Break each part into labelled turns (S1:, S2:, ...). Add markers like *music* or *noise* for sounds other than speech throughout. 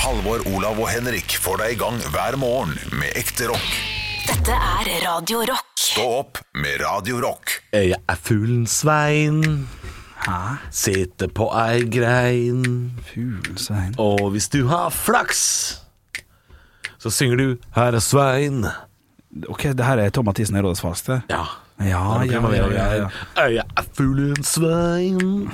S1: Halvor, Olav og Henrik får deg i gang hver morgen med ekte rock.
S2: Dette er Radio Rock.
S1: Stå opp med Radio Rock.
S3: Jeg er fuglen Svein,
S4: Hæ?
S3: sitter på ei grein,
S4: Fuglesvein
S3: og hvis du har flaks, så synger du 'Her er Svein'.
S4: Ok, det her er Tom Mathisen i Rådets Falsk, det.
S3: Ja.
S4: Ja,
S3: Det er noe
S4: ja, ja,
S3: primavera-greier.
S4: ja,
S3: Jeg er fuglen Svein,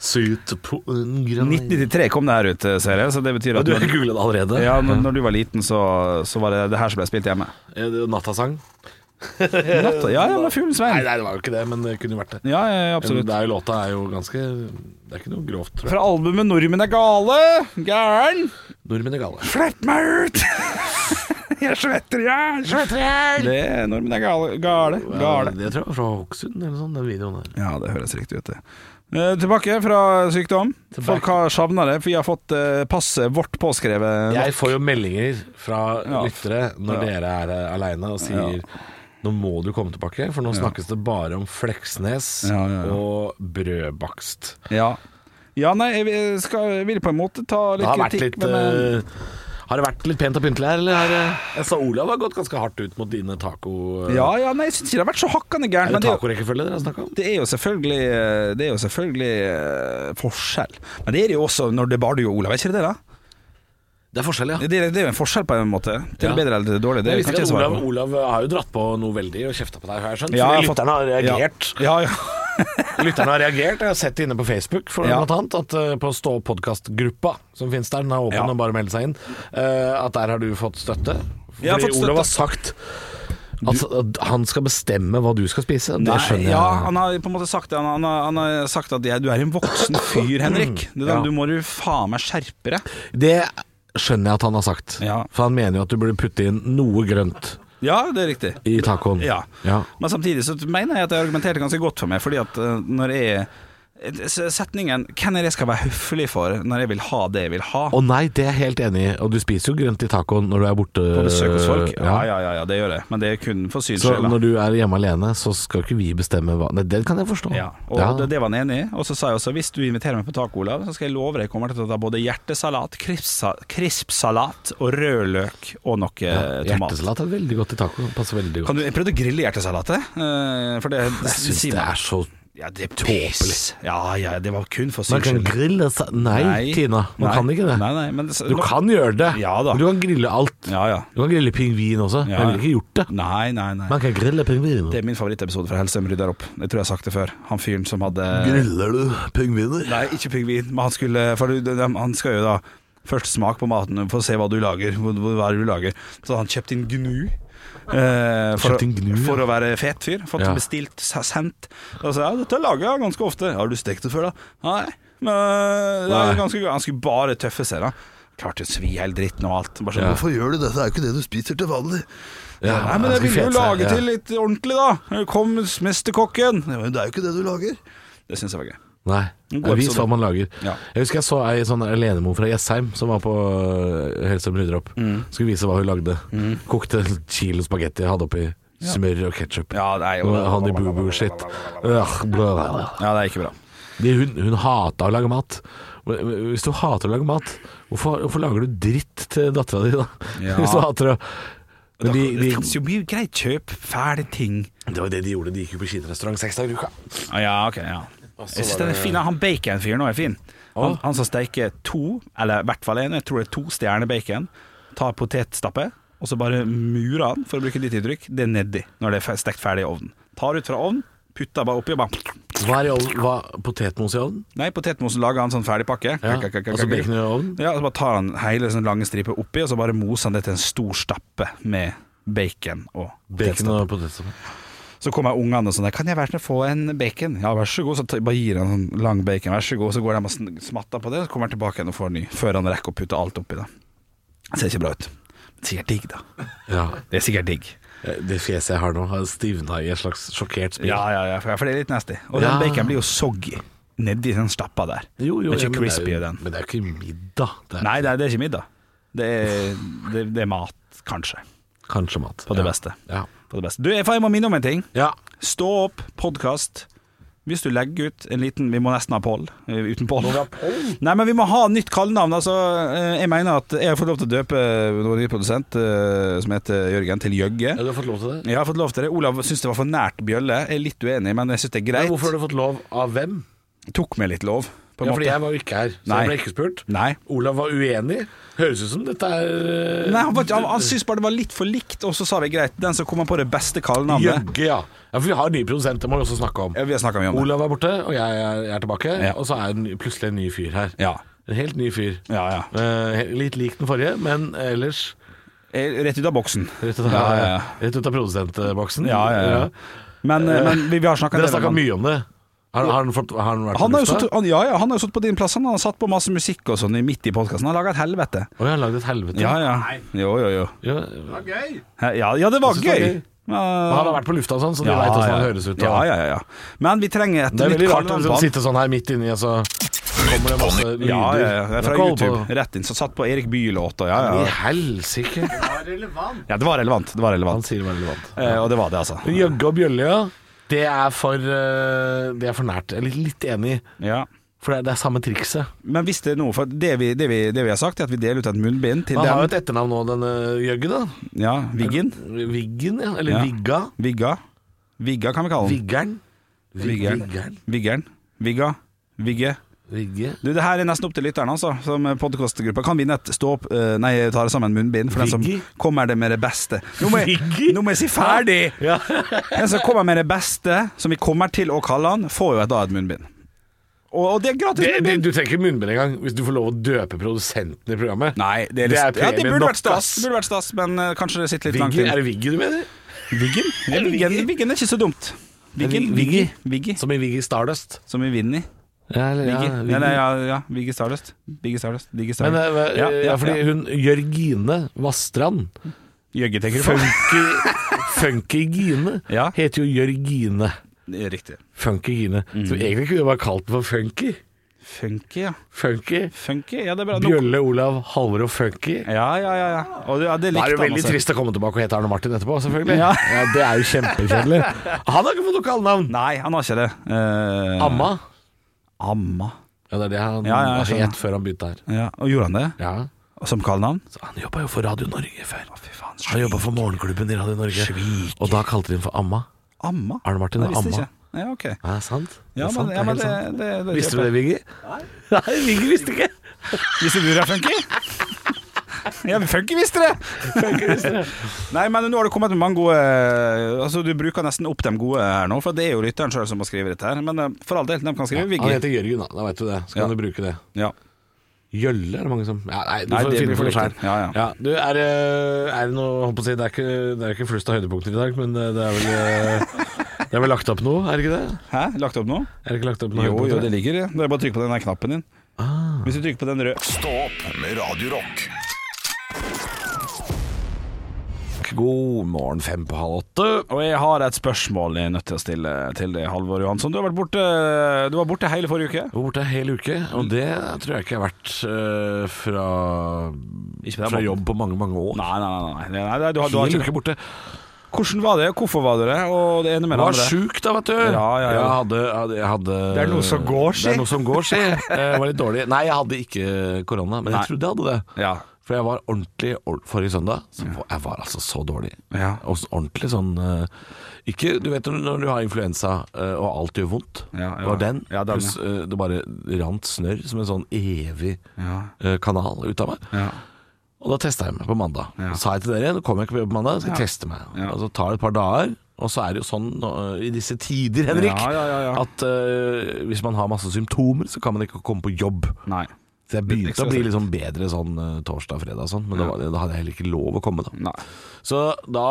S3: sitter på en grein
S4: 1993 kom det her ut, eh, ser jeg, så det betyr
S3: Ja,
S4: at
S3: Du har
S4: når,
S3: googla det allerede?
S4: ja, når, når du var liten, så, så var det det her som ble spilt hjemme.
S3: Er det Nattasang?
S4: Natta, ja, ja, det var
S3: Nei, nei,
S4: Fuglesvein.
S3: det var jo ikke det, men det kunne jo vært det.
S4: Ja, ja, ja,
S3: Men
S4: absolutt.
S3: det er jo låta er jo ganske Det er ikke noe grovt, tror jeg.
S4: Fra albumet 'Nordmenn er gale'. Gæren.
S3: Nordmenn er gale.
S4: Slipp meg ut! *laughs* jeg svetter i hjel! Svetter i hjel! Det er 'Nordmenn er gale'. Gale. gale.
S3: Det tror jeg var fra Hokksund eller noe sånt, den videoen der.
S4: Ja, det høres riktig ut, det. Eh, tilbake fra sykdom. Folk har savna det, for vi har fått eh, passet vårt påskrevet.
S3: Jeg får jo meldinger fra
S4: Ja.
S3: lyttere når
S4: Ja.
S3: dere er eh, alene og sier Nå må du komme tilbake, for nå snakkes det bare om Fleksnes
S4: Ja, ja, ja.
S3: og brødbakst.
S4: Ja. Ja, nei, jeg vil- skal, jeg vil på en måte ta
S3: Det
S4: litt
S3: har vært
S4: kritikk,
S3: litt
S4: men eh,
S3: eh, Har det vært litt pent og pyntelig her, eller? Har, eh, jeg sa Olav har gått ganske hardt ut mot dine taco... eh,
S4: Ja, ja, nei, jeg syns ikke det har vært så hakkande gærent.
S3: Er det
S4: Men det, er jo-
S3: tacorekkefølge dere har snakka om?
S4: det er jo selvfølgelig, eh, det er jo selvfølgelig eh, forskjell. Men det er det jo også når det er bare du og Olav, er ikke det det? da?
S3: Det er forskjell, ja.
S4: Det er, det er jo en forskjell på en måte. Til
S3: Ja.
S4: det bedre eller det dårlige. Det
S3: jeg visste
S4: kan
S3: ikke
S4: ikke
S3: at
S4: svare
S3: Olav,
S4: på.
S3: Olav har jo dratt på noe veldig og kjefta på deg, har jeg skjønt.
S4: Ja,
S3: Fordi
S4: jeg har fått-
S3: lytterne har
S4: Ja.
S3: reagert.
S4: Ja, ja.
S3: Lytterne har reagert. Jeg har sett det inne på Facebook for
S4: Ja.
S3: blant annet, at eh, på Stå podkast-gruppa som finnes der, den er åpen
S4: Ja.
S3: og bare meld seg inn, eh, at der har du fått støtte. Fordi
S4: Jeg har fått støtte.
S3: Olav har sagt at, at han skal bestemme hva du skal spise. Det
S4: Nei,
S3: skjønner jeg.
S4: Ja, han har på en måte sagt det. Han, han, har- han har sagt at jeg, du er en voksen fyr, Henrik. Det, er
S3: Mm. Ja.
S4: sånn, Du må jo faen meg skjerpe deg.
S3: Det skjønner jeg at han har sagt.
S4: Ja.
S3: For han mener jo at du burde putte inn noe grønt
S4: Ja, det er riktig.
S3: i tacoen.
S4: Ja.
S3: Ja.
S4: Men samtidig så mener jeg at jeg argumenterte ganske godt for meg, fordi at eh, når jeg s- Setningen 'Hvem er det jeg skal være høflig for når jeg vil ha det jeg vil ha'?
S3: Å nei, det er jeg helt enig i. Og du spiser jo grønt i tacoen når du er borte.
S4: På besøk hos folk? Ja,
S3: Ja.
S4: ja, ja, ja det gjør det. Men det er kun for syns
S3: Så
S4: skyld. da.
S3: når du er hjemme alene, så skal ikke vi bestemme hva Nei, Den kan jeg forstå.
S4: Ja, og Det, det var han enig i. Og så sa jeg også hvis du inviterer meg på taco, Olav, så skal jeg love deg jeg kommer til å ta både hjertesalat, kripsa- krispsalat og rødløk og noe
S3: Ja,
S4: tomat.
S3: Hjertesalat er veldig godt i taco. Passer veldig godt.
S4: Kan du, jeg prøvde å grille hjertesalatet, eh, for det, det
S3: Jeg syns det er så
S4: ja, det er tåpelig. Ja, ja, det var kun for
S3: Man
S4: syns
S3: kan
S4: skyld.
S3: grille sa... Nei, Tina. Man
S4: Nei.
S3: kan ikke det.
S4: Nei, nei, men, det-
S3: Du kan gjøre det.
S4: Ja da.
S3: Men Du kan grille alt.
S4: Ja, ja.
S3: Du kan grille pingvin også.
S4: Ja.
S3: Jeg ville ikke gjort det.
S4: Nei, nei, nei.
S3: Man kan grille pingviner.
S4: Det er min favorittepisode fra Hellstrøm rydder opp. Jeg tror jeg har sagt det før. Han fyren som hadde
S3: Griller du pingviner?
S4: Nei, ikke pingvin, men han skulle For du- de- han skal jo da først smake på maten for å se hva du lager. Hva, hva er det du lager Så han kjøpte inn gnu. eh, for,
S3: Kjøpte inn gnu, ja.
S4: for å være fet fyr. Fått
S3: Ja.
S4: bestilt, s- sendt. Og så ja, dette lager jeg ganske ofte. Har du stekt det før, da? Nei. Men eh, det
S3: Nei.
S4: er ganske, han skulle bare tøffe seg, da. Klarte å svi hele dritten og alt. Bare sånn,
S3: Ja.
S4: "Hvorfor
S1: gjør du det? Det er jo ikke det du spiser til vanlig.
S3: Ja,
S4: Nei, men
S3: ganske
S4: jeg
S3: fet,
S4: ville jo
S3: ja.
S4: lage til litt ordentlig, da. Kom, mesterkokken. Det var-
S1: Det er jo ikke det du lager.
S4: Det syns jeg var gøy.
S3: Nei.
S4: En god
S3: Ja, Vis
S4: episode.
S3: hva man lager.
S4: Ja.
S3: Jeg husker jeg så ei sånn alenemor fra Jessheim som var på øh, Helse som rydder opp. Skulle vise hva hun lagde. Kokte en kilo spagetti, hadde oppi smør og ketsjup.
S4: Ja, nei, og-
S3: Honey boo boo shit. Øh, bla, bla, bla.
S4: Ja, det er ikke bra.
S3: Det, hun hun hata å lage mat. Men- men Hvis du hater å lage mat, hvorfor, hvorfor lager du dritt til dattera di da? *laughs*
S4: Ja.
S3: Hvis du hater å Men de,
S4: det fins
S3: de,
S4: jo mye greit kjøp, fæle ting.
S3: det var det de gjorde. De gikk jo på kinarestaurant seks dager i uka.
S4: Ah, ja, ok, ja. Jeg synes den er fin. Han baconfyren òg er fin. Han, han som steker to, eller i hvert fall én, jeg tror det er to stjerner bacon, tar potetstappe, og så bare murer han, for å bruke ditt uttrykk, det er nedi når det er fe- stekt ferdig i ovnen. Tar ut fra ovnen, putter bare oppi og bare
S3: Hva er i ovnen? Hva- Potetmos i ovnen?
S4: Nei, potetmosen lager han sånn ferdigpakke.
S3: Ja, altså bacon i ovnen?
S4: Ja, så bare tar han hele sånn lange stripe oppi, og så bare moser han det til en stor stappe med bacon og
S3: Bacon
S4: potetstappe.
S3: og potetstappe.
S4: Så kommer ungene og sånn der, Kan jeg være snill å få en bacon? Ja, vær så god. Så t- bare gir han en sånn lang bacon, vær så god. Så går de og sn- smatter på det, så kommer han tilbake igjen og får en ny. Før han rekker å putte alt oppi det. Ser ikke bra ut. Sikkert digg, da.
S3: Ja.
S4: Det er sikkert digg.
S3: Eh, Det fjeset jeg har nå, har stivna i et slags sjokkert spil.
S4: Ja, ja, ja, for for det er litt nasty. Og
S3: Ja.
S4: den bacon blir jo soggy nedi den stappa der. den er
S3: ja,
S4: ikke
S3: men
S4: crispy,
S3: det er, jo-
S4: den.
S3: Men det er jo ikke middag. Det er
S4: Nei, det er, det er ikke middag. Det er, det, det er mat, kanskje.
S3: kanskje mat.
S4: På det
S3: ja.
S4: beste.
S3: Ja.
S4: På det beste. Du, jeg får- jeg må minne om en ting.
S3: ja.
S4: Stå opp, podkast. Hvis du legger ut en liten Vi må nesten ha poll eh, uten poll.
S5: vi ha poll?
S4: *laughs* Nei, men vi må ha nytt kallenavn. Altså, eh, jeg mener at jeg har fått lov til å døpe vår nye produsent, eh, som heter Jørgen, til Jøgge.
S3: du har fått lov til det?
S4: Jeg har fått lov til det. Olav syns det var for nært Bjølle. Jeg er litt uenig, men jeg syns det er
S3: Men
S4: greit.
S3: hvorfor har du fått lov av hvem?
S4: Tok meg litt lov, på en
S3: Ja,
S4: måte.
S3: fordi jeg var jo ikke her, så
S4: Nei.
S3: jeg ble ikke spurt.
S4: Nei.
S3: Olav var uenig. Høres ut som dette er eh,
S4: Nei, han, var ikke- han, han syntes bare det var litt for likt, og så sa vi greit, den som kommer på det beste kallenavnet
S3: Jøgge, ja. ja. For vi har en ny produsent, det må vi også snakke om.
S4: ja, Vi har snakka mye om det.
S3: Olav er borte, og jeg er, jeg er tilbake.
S4: Ja.
S3: Og så er det en- plutselig en ny fyr her.
S4: Ja.
S3: En helt ny fyr.
S4: Ja, ja.
S3: Eh, he- litt lik den forrige, men ellers
S4: Eh, Rett ut av boksen.
S3: rett ut av,
S4: Ja, ja, ja.
S3: rett ut av produsentboksen.
S4: Ja, ja, ja. Men, eh, men vi, vi har snakka
S3: Dere har snakka mye om det. Har, har, han, fått, har han vært
S4: Han
S3: på
S4: har jo
S3: lufta?
S4: sittet- han- ja, ja, han har jo sittet på din plass. Han har satt på masse musikk og sånn i- midt i podkasten. Han har laga et helvete.
S3: Å, jeg har lagd et helvete.
S4: Ja, ja. Jo, jo, jo.
S3: Ja,
S4: Hæ, Ja, ja det var
S3: Jeg synes det var
S4: gøy.
S3: gøy. Han har vært på lufta og sånn, så de vet veit åssen han høres ut. og-
S4: Ja, ja, ja, ja. Men vi trenger et
S3: Det er
S4: nytt
S3: veldig rart å
S4: kallenavn på
S3: liksom
S4: han.
S3: sitte sånn her midt inni, og så kommer det masse lyder.
S4: Ja, ja, ja. Det er
S3: Du
S4: Fra
S3: kan holde
S4: YouTube.
S3: på-
S4: Rett inn. Så satt på Erik Bye-låta. Ja,
S3: I
S4: ja.
S3: helsike.
S4: ja, det var relevant. Det var
S3: Han
S4: relevant.
S3: sier det var relevant.
S4: Eh, og det var det, altså.
S3: Jøgge og bjølle, ja. Det er for, eh, det er for nært. Jeg er litt, litt enig,
S4: Ja.
S3: for det er, det er samme trikset.
S4: Men hvis det er noe For det vi, det vi, det vi har sagt, er at vi deler ut et munnbind til
S3: Han har jo
S4: dem.
S3: et etternavn nå, denne Jøgge, da.
S4: Ja, Viggen.
S3: Viggen, ja. Eller
S4: Ja.
S3: Vigga.
S4: Vigga. Vigga kan vi kalle den.
S3: Viggern. Vig-
S4: Viggern.
S3: Viggern.
S4: Viggeren. Vigga. Vigge.
S3: Vigge.
S4: Du, det her er nesten opp til lytteren, altså, som podkastgruppe. Kan vinne et stå opp eh, Nei, jeg tar det sammen munnbind, for den som
S3: Viggy?
S4: kommer det med det beste. Nå må jeg,
S3: Viggy?
S4: nå må jeg si ferdig! *laughs*
S3: Ja.
S4: Den som kommer med det beste, som vi kommer til å kalle han, får jo et, da et munnbind. Og, og det er gratis
S3: Det, det,
S4: munnbind!
S3: du trenger ikke munnbind engang hvis du får lov å døpe produsenten i programmet.
S4: Nei, det er,
S3: Det
S4: litt,
S3: er
S4: ja, det
S3: premie
S4: burde
S3: nok,
S4: vært stas,
S3: ass.
S4: det burde vært stas men eh, kanskje det sitter litt langt
S3: Viggen, er
S4: inn.
S3: det Vigge du mener?
S4: Viggen? Ja, Viggen, Viggen er ikke så dumt.
S3: Vig-
S4: Viggen, Viggy,
S3: Viggy.
S4: Viggy,
S3: Som i Viggy Stardust.
S4: som i Vinni.
S3: Ja, eller-
S4: Viggy.
S3: ja,
S4: Ja, nei, ja, ja, Viggy Stardust. Viggy Stardust. Viggy
S3: Men
S4: Stardust.
S3: eh,
S4: Ja,
S3: ja,
S4: ja,
S3: fordi
S4: ja.
S3: hun Jørgine Vastrand
S4: eh, Jøgge, tenker du på?
S3: Funky, funky Gine
S4: Ja.
S3: heter jo Jørgine
S4: Det er Riktig.
S3: Funky Gine
S4: Mm.
S3: Så egentlig kunne vi bare kalt den for Funky
S4: Funky, ja.
S3: Funky
S4: Funky, ja, det er bra. Nå-
S3: Bjølle, Olav, Halvor og Funky
S4: Ja, ja, ja. ja. Og det, ja,
S3: Da er
S4: det likte
S3: det jo
S4: han altså.
S3: veldig
S4: også.
S3: trist å komme tilbake og hete Arne Martin etterpå, selvfølgelig
S4: Ja.
S3: Det er jo
S4: *laughs*
S3: kjempekjedelig Han har ikke fått noe kallenavn
S4: Nei, han har ikke det. Eh,
S3: Amma
S4: Amma.
S3: Ja, det er det han
S4: Ja, ja, jeg skjønner.
S3: het før han begynte her
S4: Ja, og gjorde han det?
S3: Ja
S4: Som kallenavn?
S3: Så han jobbet jo for Radio Norge før Han jobbet for morgenklubben i Radio Norge
S4: Svik.
S3: Og da kalte de den for Amma
S4: Amma?
S3: Arne Martin
S4: Jeg
S3: og
S4: visste
S3: Amma
S4: ikke. Ja, ok.
S3: Ja, sant
S4: Ja,
S3: det er sant,
S4: men,
S3: det er
S4: ja, men
S3: helt
S4: det,
S3: sant.
S4: det, det
S3: Visste du det, Viggy? *laughs* Nei, Viggy visste ikke.
S4: Visste du det, Funky? Ja, Funky visste det! Nei, men nå har det kommet med mange gode Altså, Du bruker nesten opp de gode her nå, for det er jo lytteren sjøl som må skrive dette her. Men eh, for all del, de kan skrive
S3: Han
S4: Viggy.
S3: heter Jørgen, da. Da vet du det. Så
S4: Ja.
S3: kan du bruke det.
S4: Ja.
S3: Jølle er det mange som ja, Nei, du
S4: Nei,
S3: får
S4: det
S3: finne
S4: blir
S3: for deg
S4: for
S3: sjøl.
S4: riktig. Ja, ja.
S3: du, er, det- er det noe holdt på å si, Det er ikke, det er ikke flust av høydepunkter i dag, men det er vel eh, Det er vel lagt opp noe, er det ikke det?
S4: Hæ? Lagt opp nå?
S3: Er det Ah. ikke lagt opp noe
S4: Jo, jo,
S3: høydepunkter?
S4: det ligger det. Det er bare å trykke på den der knappen din. Hvis du trykker på den røde
S1: Stå opp med Radio Rock.
S3: God morgen, fem på halv åtte.
S4: Og jeg har et spørsmål jeg er nødt til å stille til deg, Halvor Johansson. Du, har vært borte, du var borte hele forrige uke.
S3: Jeg var borte en hel uke, og det tror jeg ikke jeg har vært eh, fra,
S4: på den
S3: fra
S4: måten.
S3: jobb på mange, mange år.
S4: Nei, nei, nei. nei, nei, nei du, har- du har
S3: Hel
S4: ikke...
S3: uke borte.
S4: Hvordan var det? Hvorfor var du det? Og det ene med det
S3: var
S4: andre.
S3: sjuk da, vet du.
S4: Ja, ja, ja.
S3: Jeg hadde, hadde, jeg hadde
S4: Det er noe som går, si.
S3: Det er noe som
S4: *laughs*
S3: går, si. Jeg var litt dårlig. Nei, jeg hadde ikke korona, men
S4: Nei.
S3: jeg trodde jeg hadde det.
S4: Ja.
S3: For jeg var ordentlig ord- Forrige søndag så var, jeg var altså så dårlig.
S4: Ja.
S3: Og så ordentlig sånn eh, Ikke Du vet når du har influensa eh, og alt gjør vondt.
S4: Ja, ja.
S3: Det var den.
S4: Ja, den,
S3: pluss eh, det bare rant snørr som en sånn evig
S4: Ja.
S3: eh, kanal ut av meg.
S4: Ja.
S3: Og da testa jeg meg på mandag. Og Sa jeg til dere nå kommer jeg ikke på jobb på mandag, skal jeg teste meg. Og så tar det et par dager, og så er det jo sånn nå, i disse tider, Henrik,
S4: Ja, ja, ja, ja.
S3: at eh, hvis man har masse symptomer, så kan man ikke komme på jobb.
S4: Nei.
S3: Så jeg
S4: Litt
S3: begynte
S4: ekstra
S3: å bli litt sånn bedre sånn eh, torsdag og fredag og sånn, men da, var, det- da hadde jeg heller ikke lov å komme da.
S4: Nei.
S3: Så da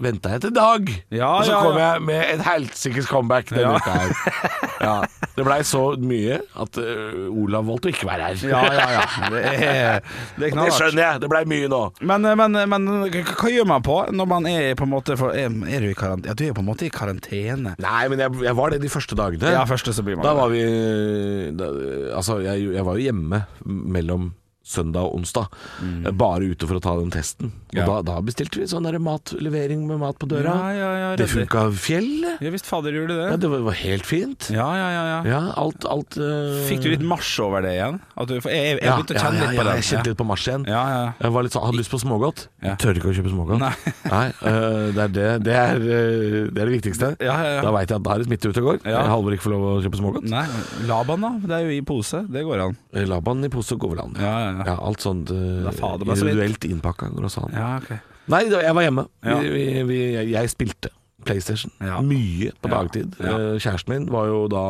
S3: venta jeg til dag,
S4: Ja,
S3: og så
S4: ja,
S3: kom
S4: ja.
S3: jeg med et helsikes comeback denne
S4: Ja.
S3: uka her. Ja. Det blei så mye at eh, Olav valgte å ikke være her.
S4: Ja, ja, ja. Det er, det
S3: *laughs*
S4: er
S3: Og det
S4: knallhardt.
S3: skjønner jeg, det blei mye nå.
S4: Men, men, men hva hva gjør man på når man er på en måte for, er, er du i karantene? Ja, du er på en måte i karantene.
S3: Nei, men jeg, jeg var det de første dagene.
S4: Ja, første så blir man
S3: da
S4: det.
S3: var vi da, Altså, jeg, jeg var jo hjemme mellom søndag og onsdag. eh, Bare ute for å ta den testen. Og
S4: Mm. Ja.
S3: da, da bestilte vi sånn der matlevering med mat på døra.
S4: Ja, ja, ja,
S3: det
S4: redder.
S3: funka fjellet.
S4: Ja visst, fader gjorde
S3: Ja,
S4: det.
S3: det var, var helt fint.
S4: Ja, ja, ja, ja.
S3: Ja, alt, alt eh,
S4: Fikk du litt marsj over det igjen? At du, for jeg, jeg, jeg
S3: ja,
S4: begynte å
S3: ja,
S4: kjenne
S3: ja,
S4: litt på
S3: ja,
S4: den.
S3: jeg kjente litt på mars igjen.
S4: Ja, ja, ja.
S3: Jeg var litt sånn, hadde lyst på smågodt.
S4: Ja.
S3: Tør ikke å kjøpe smågodt.
S4: Nei.
S3: eh, det, er det, det, er, eh, det er det viktigste.
S4: Ja, ja, ja.
S3: Da veit jeg at da er det smitte ute og går.
S4: Ja.
S3: Halvor ikke får lov å kjøpe smågodt.
S4: Nei, Laban da, det er jo i pose, det går an.
S3: Laban Eh, i pose går vel an.
S4: Ja, ja, ja.
S3: alt sånt eh,
S4: Da fader meg så vidt.
S3: individuelt innpakka går også an.
S4: Ja, ok.
S3: Nei, da, jeg var hjemme.
S4: Ja.
S3: Vi, vi, vi, jeg, jeg spilte PlayStation
S4: Ja.
S3: mye på
S4: Ja.
S3: dagtid.
S4: Ja.
S3: Eh, Kjæresten min var jo da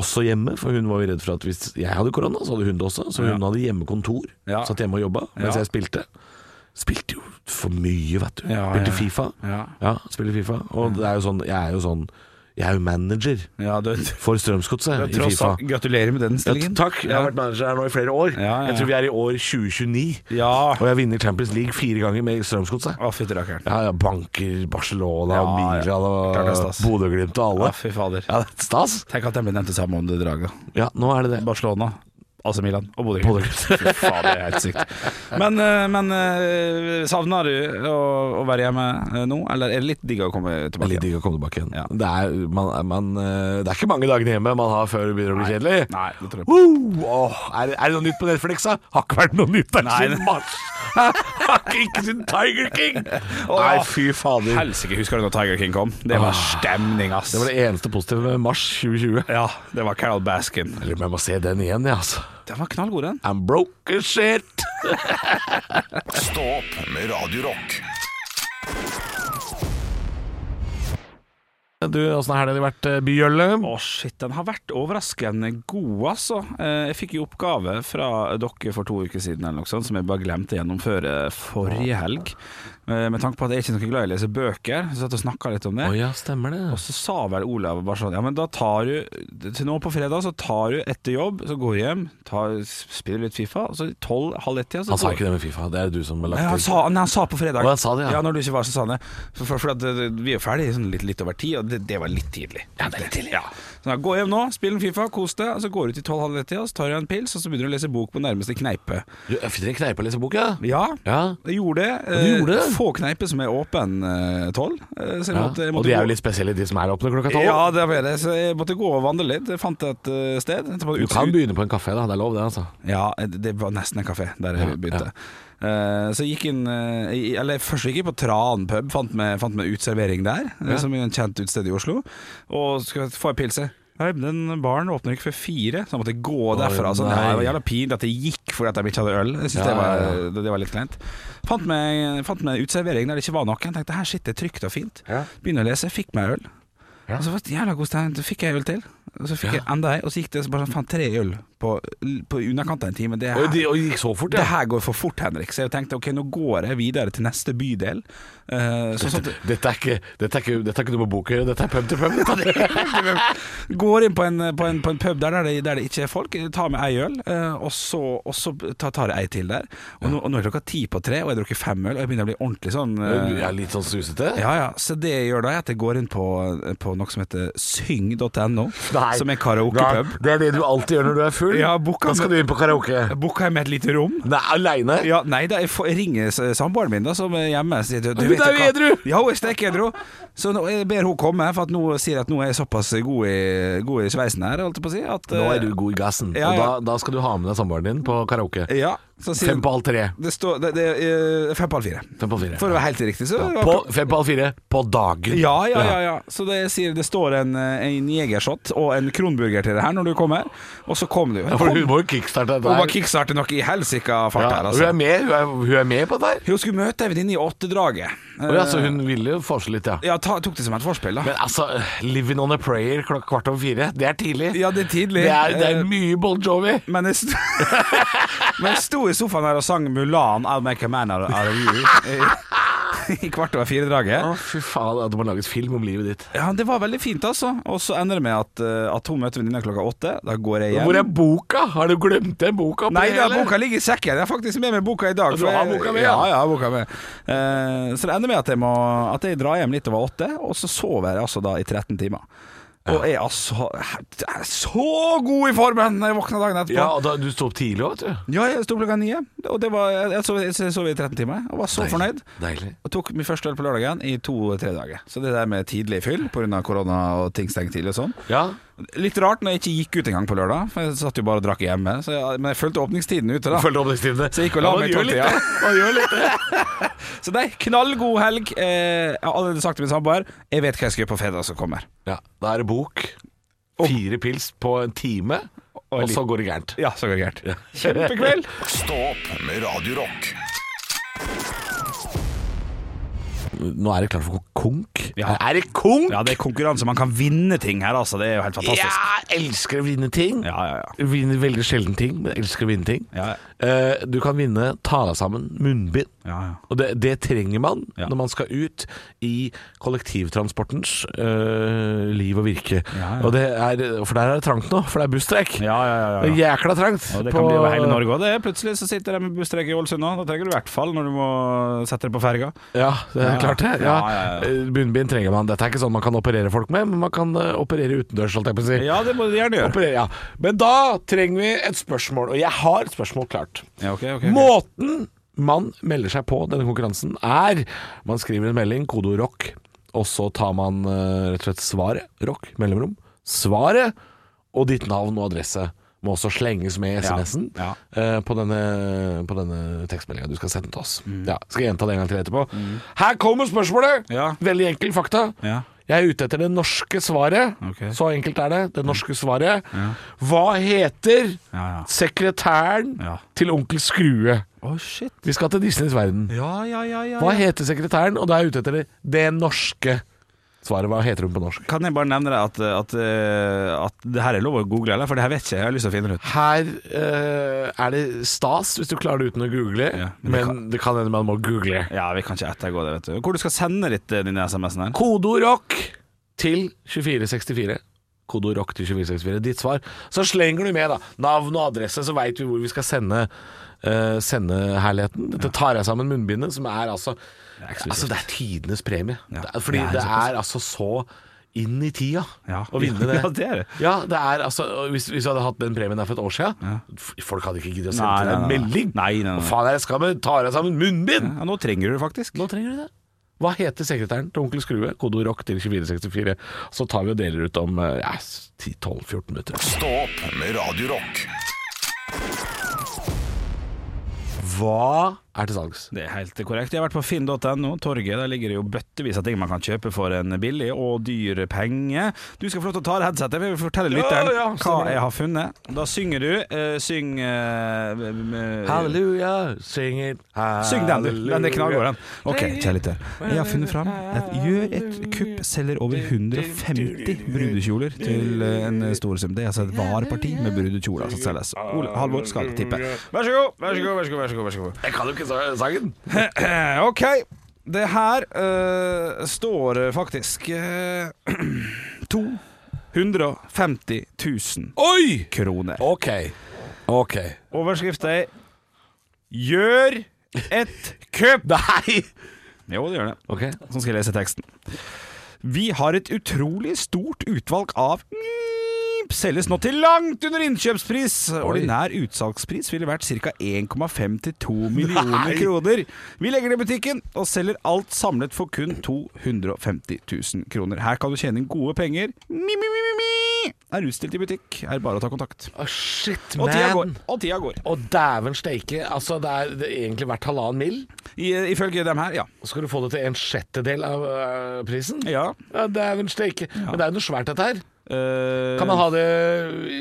S3: også hjemme, for hun var jo redd for at hvis jeg hadde korona, så hadde hun det også. Så hun
S4: Ja.
S3: hadde hjemmekontor.
S4: Ja.
S3: Satt hjemme og jobba mens
S4: Ja.
S3: jeg spilte. Spilte jo for mye, vet du.
S4: Ja, ja.
S3: spilte Fifa.
S4: Ja. Mm.
S3: spiller Fifa. Og det er jo sånn, jeg er jo sånn Jeg er jo manager
S4: Ja, du,
S3: for Strømsgodset i
S4: tross
S3: Fifa.
S4: alt, gratulerer med den
S3: Ja,
S4: stillingen.
S3: takk. Jeg har vært manager her nå i flere år.
S4: Ja, ja,
S3: Jeg tror vi
S4: ja.
S3: er i år 2029.
S4: Ja,
S3: Og jeg vinner Champions League fire ganger med Strømsgodset.
S4: å fytti rakkeren.
S3: Ja, ja, banker Barcelona og
S4: Ja, ja.
S3: Milan
S4: Klart det er
S3: og
S4: stas.
S3: Bodø-Glimt og alle.
S4: Å, fy fader.
S3: Ja, det er stas.
S4: Tenk at de ble nevnt det samme om det draget.
S3: Ja, nå er det det.
S4: Barcelona, AC Milan og Bodø
S3: Bodø
S4: Glimt.
S3: Glimt.
S4: Fy faen, det er helt sykt. Men, eh, men eh, savner du å, å være hjemme eh, nå, eller er det litt digg å komme
S3: Det er
S4: tilbake?
S3: litt digg å komme tilbake igjen.
S4: Ja.
S3: Det, er, man, er- man, eh, det er ikke mange dagene hjemme man har før det begynner å bli kjedelig.
S4: Nei, det tror jeg ikke.
S3: Woo! Åh, er, det- er det noe nytt på Netflix, da? Har ikke vært noe nytt der
S4: Nei,
S3: siden
S4: det-
S3: mars! Hæ? Har ikke- ikke siden Tiger King!
S4: *laughs* Åh.
S3: Nei, fy fader.
S4: Helsike, husker du når Tiger King kom? Det var stemning, ass.
S3: Ah, Det var det eneste positive med mars 2020.
S4: Ja, det var Carol Baskin.
S3: Jeg lurer på om jeg må se den igjen, jeg, altså.
S4: Den var knallgod, den.
S3: I'm broke as shit!
S1: Stå opp med Radio Rock.
S3: Du, åssen har helga vært, eh, Bjølle?
S4: Å shit, den har vært overraskende god, altså. Eh, Jeg fikk jo oppgave fra dere for to uker siden, eller noe sånt, som jeg bare glemte å gjennomføre forrige helg. Eh, Med tanke på at jeg er ikke er noe glad i å lese bøker, så satt jeg og snakka litt om
S3: Å
S4: det.
S3: ja, stemmer
S4: Og
S3: det.
S4: så sa vel Olav bare sånn Ja, men da tar du Til nå på fredag så tar du etter jobb, så går du hjem, tar, spiller litt Fifa, og så tolv, halv ett-tida så
S3: Han sa
S4: går-
S3: ikke det med Fifa. Det er du som har
S4: Nei, han
S3: lagt
S4: sa, nei, han sa på fredag.
S3: Å, han sa det, ja.
S4: Når du ikke var, så sa han det. For, for, for at, eh, vi er jo ferdige sånn litt, litt over ti, og det, det var litt tidlig. Ja, det er litt tidlig. Så da, gå hjem nå, spill en Fifa, kos deg, og så går du til tolv halv ett, og så tar du en pils, og så begynner du å lese bok på nærmeste kneipe.
S3: Du jeg finner en kneipe å lese bok, ja?
S4: Ja,
S3: Ja.
S4: jeg gjorde det.
S3: du
S4: Eh,
S3: gjorde det?
S4: Få kneiper som er åpen eh, tolv. Eh, så jeg
S3: ja.
S4: måtte, jeg
S3: Og
S4: måtte
S3: de er jo
S4: gå-
S3: litt spesielle, de som er åpne klokka tolv.
S4: Ja, det var det. Så jeg måtte gå og vandre litt. Jeg fant et eh, sted. Jeg måtte
S3: Du
S4: ut-
S3: kan begynne på en kafé, da. Det er lov, det, altså.
S4: Ja, det var nesten en kafé der
S3: Ja,
S4: jeg begynte. Eh, så jeg gikk inn eh, i- Eller først gikk jeg på Tran pub, fant meg, fant meg utservering der, eh,
S3: Ja.
S4: som er en kjent utested i Oslo. Og skal få en pilse. Nei, den baren åpner ikke før fire, så jeg måtte gå derfra. Så det
S3: nei.
S4: var jævla pinlig at jeg gikk fordi at de ikke hadde øl. Jeg
S3: Ja,
S4: synes det, var,
S3: ja,
S4: det, det var litt kleint. Fant meg, fant meg utservering der det ikke var noen. Tenkte her sitter det trygt og fint.
S3: Ja.
S4: Begynner å lese, fikk meg øl.
S3: Ja.
S4: Og så var det jævla god stemning. Så fikk jeg øl til. Og så fikk jeg enda ei, og så gikk det så bare sånn faen tre øl på, på underkant av en time. Det
S3: Og
S4: her,
S3: de og de gikk så fort,
S4: det
S3: ja.
S4: her går for fort, Henrik. Så jeg tenkte ok, nå går jeg videre til neste bydel. Eh, så sånn,
S3: *laughs* Dette er ikke, dette er ikke, dette er ikke noe med bok å gjøre, dette er pub til pub.
S4: *laughs* går inn på en, på en, på en pub der, der, det, der det ikke er folk, tar med ei øl, eh, og så, og så tar, tar jeg ei til der. Og nå, og nå er klokka ti på tre, og jeg har drukket fem øl, og jeg begynner å bli ordentlig sånn eh,
S3: Jeg er litt sånn susete.
S4: Ja, ja. Så det jeg gjør da, er at jeg går inn på, på noe som heter syng.no,
S3: Nei.
S4: som er karaokepub.
S3: Nei, Det er det du alltid gjør når du er full.
S4: Ja, boka-
S3: da skal du inn på karaoke.
S4: Booka jeg med et lite rom.
S3: Nei, aleine?
S4: Ja, nei da, jeg, får, jeg ringer s- samboeren min, da, som er hjemme. og Sier, du,
S3: Hun er jo
S4: hva?
S3: edru!
S4: Ja, hun er stekedru! Så nå, jeg ber hun komme, for at nå sier jeg at nå er jeg såpass god i, god i sveisen her, holdt jeg på å si. At, eh,
S3: Nå er du god i gassen,
S4: Ja,
S3: og da,
S4: ja.
S3: da skal du ha med deg samboeren din på karaoke.
S4: eh, Ja. Så sier,
S3: Fem på halv tre.
S4: Det står det, det, er, eh, Fem på halv fire.
S3: Fem på halv fire.
S4: For å være helt riktig, så
S3: Ja, på, fem på halv fire på dagen.
S4: Ja, ja, ja, ja. Så det, jeg sier, det står en, eh, en jegershot og en kronburger til det her når du kommer. Og så kom du.
S3: Ja, For hun må jo kickstarte dette
S4: Hun var
S3: her.
S4: kickstarter nok i helsika fart
S3: Ja,
S4: her,
S3: hun, er
S4: altså.
S3: med, hun, er, hun er med på dette her.
S4: Hun skulle møte ei venninne i åttedraget.
S3: Å ja, så hun
S4: Eh.
S3: ville jo forske litt, ja.
S4: Ja, ta, tok det som et forspill, da.
S3: Men altså, 'Living on a Prayer' klokka kvart over fire, det er tidlig.
S4: Ja, det er tidlig.
S3: Det er, det
S4: Eh,
S3: er mye Bon Jovi.
S4: Men jeg, sto, *laughs* men jeg sto i sofaen her og sang Mulan, I'll Make a Man Out Out of You i, *laughs* i kvart over fire-draget.
S3: Å, fy faen, det må lages film om livet ditt.
S4: Ja, det var veldig fint, altså. Og så ender det med at, eh, at hun møter venninna klokka åtte. Da går jeg hjem.
S3: Hvor er boka? Har du glemt den boka? oppi
S4: Nei,
S3: det
S4: da,
S3: hele?
S4: boka ligger i sekken. Jeg har faktisk med meg boka i dag.
S3: Du
S4: for
S3: har
S4: jeg-
S3: boka med, ja.
S4: ja? Ja, jeg har boka med. Eh, så det ender med at jeg, må, at jeg drar hjem litt over åtte, og så sover jeg altså da i 13 timer. Og er altså er så god i formen når jeg våkner dagen etterpå.
S3: Ja, og da, Du sto opp tidlig òg, vet du.
S4: Ja, jeg sto opp klokka ni, og det var, jeg sov, jeg sov i 13 timer og var så fornøyd.
S3: Deilig.
S4: Og tok min første øl på lørdagen i to-tre dager. Så det der med tidlig fyll pga. korona og ting stengt tidlig og sånn.
S3: Ja.
S4: Litt rart når jeg ikke gikk ut engang på lørdag, for jeg satt jo bare og drakk hjemme. Så jeg, men jeg fulgte åpningstiden ute, da.
S3: Følg åpningstidene.
S4: Så jeg gikk og la
S3: Ja, man
S4: meg i
S3: gjør litt
S4: tolvtida.
S3: det. Man gjør litt det.
S4: Så nei, knallgod helg. Eh, jeg har allerede sagt til min samboer jeg vet hva jeg skal gjøre på fredag som kommer.
S3: Ja, Da er det bok. Fire pils på en time, og så går det gærent.
S4: Ja, så går det gærent. Kjempekveld.
S1: Stå opp med Radio Rock.
S3: Nå er det klart for konk.
S4: Ja.
S3: Er det konk?
S4: *laughs* Ja, det er konkurranse. Man kan vinne ting her, altså. Det er jo helt fantastisk.
S3: Jeg elsker å vinne ting.
S4: Ja, ja, ja.
S3: Vinner veldig sjelden ting, men jeg elsker å vinne ting.
S4: Ja,
S3: Eh, du kan vinne ta deg sammen, munnbind.
S4: Ja, ja.
S3: Og det, det trenger man
S4: Ja.
S3: når man skal ut i kollektivtransportens eh, liv og virke.
S4: Ja, ja.
S3: Og det er, for der er det trangt nå, for det er busstreik.
S4: Ja, ja, ja, ja.
S3: Det er Jækla trangt.
S4: Og det
S3: på-
S4: kan bli over hele Norge òg. Plutselig så sitter de med busstreik i Ålesund nå. Da trenger du i hvert fall når du må sette deg på ferga.
S3: Ja, det er
S4: Ja.
S3: klart det. Ja.
S4: Ja, ja, ja.
S3: Eh, Munnbind trenger man. Dette er ikke sånn man kan operere folk med, men man kan eh, operere utendørs, holdt jeg på å si.
S4: Ja, det må du gjerne gjøre.
S3: Operere, ja. Men da trenger vi et spørsmål, og jeg har et spørsmål klart.
S4: Ja, ok, ok, ok.
S3: Måten man melder seg på denne konkurransen er Man skriver en melding, kodeord rock, og så tar man eh, rett og slett svaret. Rock, mellomrom. Svaret og ditt navn og adresse må også slenges med i
S4: Ja,
S3: SMS-en
S4: ja.
S3: eh, på denne, på denne tekstmeldinga du skal sende til oss.
S4: Mm.
S3: Ja, skal jeg gjenta det en gang til etterpå. Her kommer spørsmålet!
S4: Ja.
S3: Veldig enkel fakta.
S4: Ja.
S3: Jeg er ute etter det norske svaret.
S4: Ok.
S3: Så enkelt er det. Det norske svaret. Hva heter
S4: Ja, ja.
S3: sekretæren
S4: Ja.
S3: til onkel Skrue?
S4: Å, shit.
S3: Vi skal til Disneys verden.
S4: Ja, ja, ja, ja.
S3: Hva
S4: ja.
S3: heter sekretæren? Og da er jeg ute etter det, det norske svaret. Hva heter hun på norsk?
S4: Kan jeg bare nevne deg at, at, eh, at det her er lov å google, eller? For det her vet ikke jeg. Jeg har lyst til å finne det ut.
S3: Her eh, er det stas hvis du klarer det uten å google,
S4: Ja, men det
S3: men det kan hende man må google.
S4: Ja, vi kan ikke ettergå det, vet du. Hvor du skal sende ditt, eh, dine SMS-en her?
S3: Kodeord rock til 2464. Kodeord rock til 2464. Ditt svar. Så slenger du med da navn og adresse, så veit vi hvor vi skal sende, eh, sende herligheten. Dette tar jeg sammen munnbindet, som er altså Altså, det er tidenes premie.
S4: Ja.
S3: Det er, fordi
S4: Det er
S3: det
S4: såpass.
S3: er altså så inn i tida
S4: Ja.
S3: å vinne det.
S4: *laughs* Ja, det er det.
S3: Ja, det er altså og Hvis, hvis vi hadde hatt den premien der for et år siden, f- folk hadde ikke giddet å sende
S4: Nei,
S3: til deg en
S4: nei, nei.
S3: melding.
S4: Nei, nei, nei.
S3: Hva faen er det skammen? Tar deg sammen munnbind!
S4: Ja, nå trenger du det faktisk.
S3: Nå trenger du det. Hva heter sekretæren til onkel Skrue? Kodeord rock til 2464. Så tar vi og deler ut om eh, ja, 10-12-14 minutter.
S1: Stå opp med Radio Rock.
S3: Hva er til salgs?
S4: Det er helt korrekt. Jeg har vært på finn.no, torget. Der ligger det jo bøttevis av ting man kan kjøpe for en billig og dyr penge. Du skal få lov til å ta av deg headsetet. Jeg vil fortelle lytteren
S3: ja,
S4: hva
S3: stemmer det.
S4: jeg har funnet. Da synger du. eh, syng eh, med-
S3: Halleluja, sing it
S4: Syng den, du. Den er knallgod, den. Ok, kjære lytter. Jeg har funnet fram et Gjør et kupp selger over 150 brudekjoler til eh, en stor sum. Det er altså et vareparti med brudekjoler som selges. Ole Halvor skal tippe. Vær så god, vær så god, vær så god. Vær så god, vær så god.
S3: Jeg kan jo ikke sa- sangen.
S4: Eh, Ok, det her eh, står eh, faktisk eh, *clears throat* 250 000
S3: Oi!
S4: kroner.
S3: Ok. Ok.
S4: Overskriften er 'Gjør et kupp'.
S3: Nei!
S4: Jo, det gjør det.
S3: Ok.
S4: Sånn skal jeg lese teksten. Vi har et utrolig stort utvalg av Nyp Selges nå til langt under innkjøpspris. Ordinær utsalgspris ville vært ca. 1,5 til 2 millioner
S3: Nei.
S4: kroner. Vi legger det i butikken og selger alt samlet for kun 250 000 kroner. Her kan du tjene inn gode penger. Mi, mi, mi, mi, mi. Er utstilt i butikk. Er bare å ta kontakt.
S3: Å, shit,
S4: Og tida går.
S3: man.
S4: Og tida går.
S3: Å, dæven steike. Altså, det er det er egentlig verdt halvannen mill.
S4: I, ifølge dem her, ja.
S3: Skal du få det til en sjettedel av øh, prisen?
S4: ja.
S3: Ja, dæven steike. Men det er jo noe svært, dette her.
S4: Eh,
S3: Kan man ha det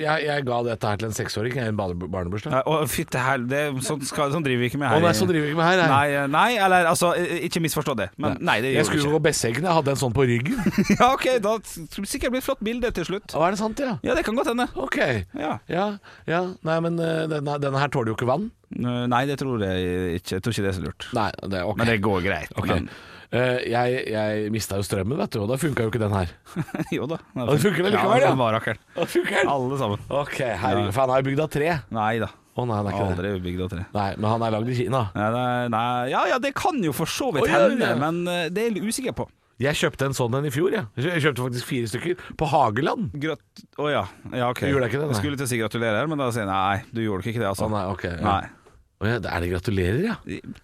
S3: Jeg, jeg ga dette her til en seksåring i en barne- barnebursdag.
S4: Nei, Å, fytte hel... Det, sånn, skal, sånn driver vi ikke med
S3: Å
S4: her.
S3: nei,
S4: i-
S3: så driver vi ikke med her. Nei.
S4: Nei, eh, nei, eller altså, eh, ikke misforstå det. Men nei, det
S3: jeg
S4: gjør vi
S3: skulle
S4: ikke.
S3: gå Besseggen, jeg hadde en sånn på ryggen.
S4: *laughs* Ja, ok, da skulle det sikkert bli et flott bilde til slutt.
S3: Å, er det sant, ja?
S4: Ja, det kan godt hende.
S3: Ok.
S4: Ja.
S3: Ja, ja. Nei, men øh, denne, denne her tåler jo ikke vann.
S4: Eh, Nei, det tror jeg ikke. Jeg tror ikke det er så lurt.
S3: Nei, det er ok.
S4: Men det går greit.
S3: Ok.
S4: Men, *laughs*
S3: Eh, jeg jeg mista jo strømmen, vet du, og da funka jo ikke den her.
S4: jo da.
S3: Og det funker det likevel,
S4: ja.
S3: ja.
S4: den var akkurat.
S3: Da funker den!
S4: Alle sammen.
S3: Ok, herregud. For han er jo bygd av tre.
S4: Nei da.
S3: Å nei, han er ikke det.
S4: Aldri bygd av tre.
S3: Nei, men han er lagd i Kina.
S4: Nei, nei, nei. Ja ja, det kan jo for så vidt
S3: Å, ja,
S4: hende,
S3: ja.
S4: men eh, det er jeg litt usikker på.
S3: Jeg kjøpte en sånn en i fjor, jeg. Jeg kjøpte faktisk fire stykker på Hageland.
S4: Grat... Å ja. ja ok.
S3: Gjorde jeg ikke det, nei?
S4: Jeg skulle til å si gratulerer, men da sier jeg nei, du gjorde ikke det, altså.
S3: Å, nei, ok, ja.
S4: Nei.
S3: Å ja, er det gratulerer, ja?